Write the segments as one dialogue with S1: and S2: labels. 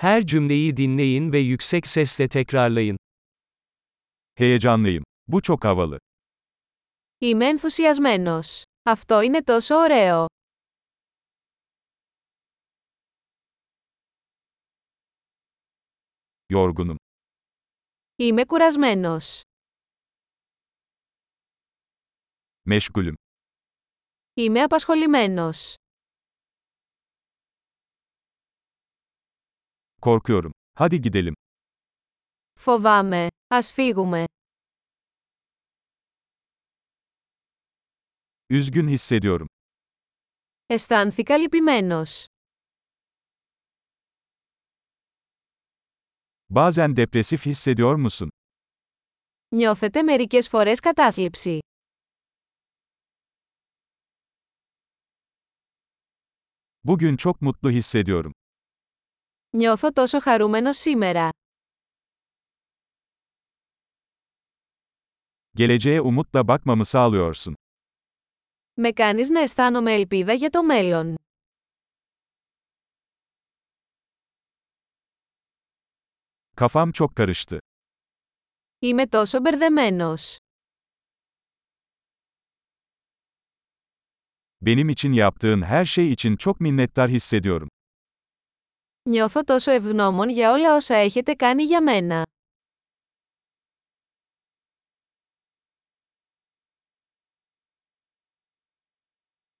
S1: Her cümleyi dinleyin ve yüksek sesle tekrarlayın.
S2: Heyecanlıyım. Bu çok havalı.
S3: Είμαι ενθουσιασμένος. Αυτό είναι τόσο ωραίο.
S2: Yorgunum.
S3: Είμαι κουρασμένος.
S2: Meşgulüm.
S3: Είμαι απασχολημένος.
S2: Korkuyorum. Hadi gidelim.
S3: Φοβάμαι. Ας φύγουμε.
S2: Üzgün hissediyorum.
S3: Αισθάνθηκα λυπημένος.
S2: Bazen depresif hissediyor musun?
S3: Νιώθετε μερικές φορές κατάθλιψη.
S2: Bugün çok mutlu hissediyorum.
S3: Νιώθω τόσο χαρούμενος σήμερα.
S2: Geleceğe umutla bakmamı sağlıyorsun.
S3: Με κάνεις να αισθάνομαι ελπίδα για το μέλλον.
S2: Kafam çok karıştı.
S3: Είμαι τόσο μπερδεμένος.
S2: Benim için yaptığın her şey için çok minnettar hissediyorum.
S3: Νιώθω τόσο ευγνώμων για όλα όσα έχετε κάνει για μένα.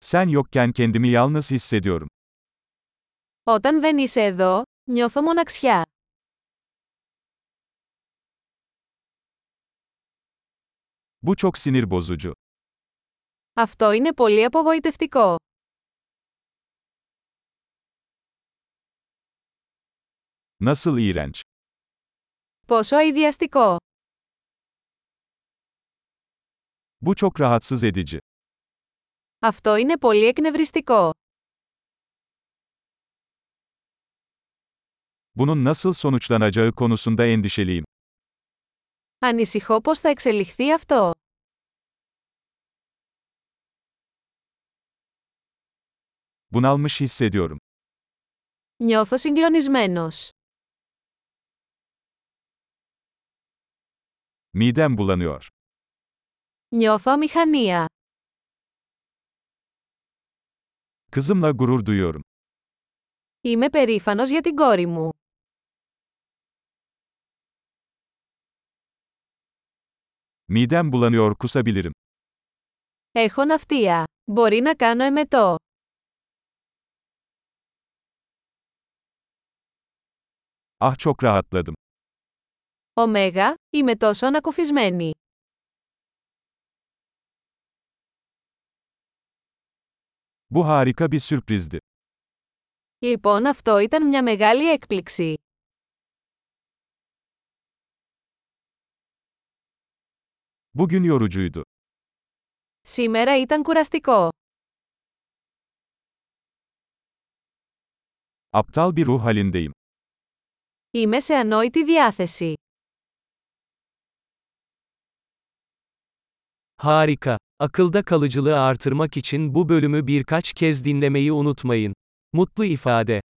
S2: Sen yokken kendimi yalnız hissediyorum.
S3: Όταν δεν είσαι εδώ, νιώθω μοναξιά.
S2: Bu çok sinir bozucu.
S3: Αυτό είναι πολύ απογοητευτικό.
S2: Nasıl iğrenç.
S3: Πόσο αειδιαστικό.
S2: Bu çok rahatsız edici.
S3: Αυτό είναι πολύ εκνευριστικό.
S2: Bunun nasıl sonuçlanacağı konusunda endişeliyim.
S3: Ανησυχώ πώς θα εξελιχθεί αυτό.
S2: Bunalmış hissediyorum.
S3: Νιώθω συγκλονισμένος.
S2: Midem bulanıyor.
S3: Νιώθω αμηχανία.
S2: Kızımla gurur duyuyorum.
S3: Είμαι περήφανος για την κόρη μου.
S2: Midem bulanıyor kusabilirim.
S3: Έχω ναυτία. Μπορεί να κάνω εμετό.
S2: Ah çok rahatladım.
S3: Ωμέγα, είμαι τόσο ανακουφισμένη.
S2: Bu harika bir sürprizdi.
S3: Λοιπόν αυτό ήταν μια μεγάλη έκπληξη.
S2: Bugün yorucuydu.
S3: Σήμερα ήταν κουραστικό.
S2: Aptal bir ruh halindeyim.
S3: Είμαι σε ανόητη διάθεση.
S1: Harika. Akılda kalıcılığı artırmak için bu bölümü birkaç kez dinlemeyi unutmayın. Mutlu ifade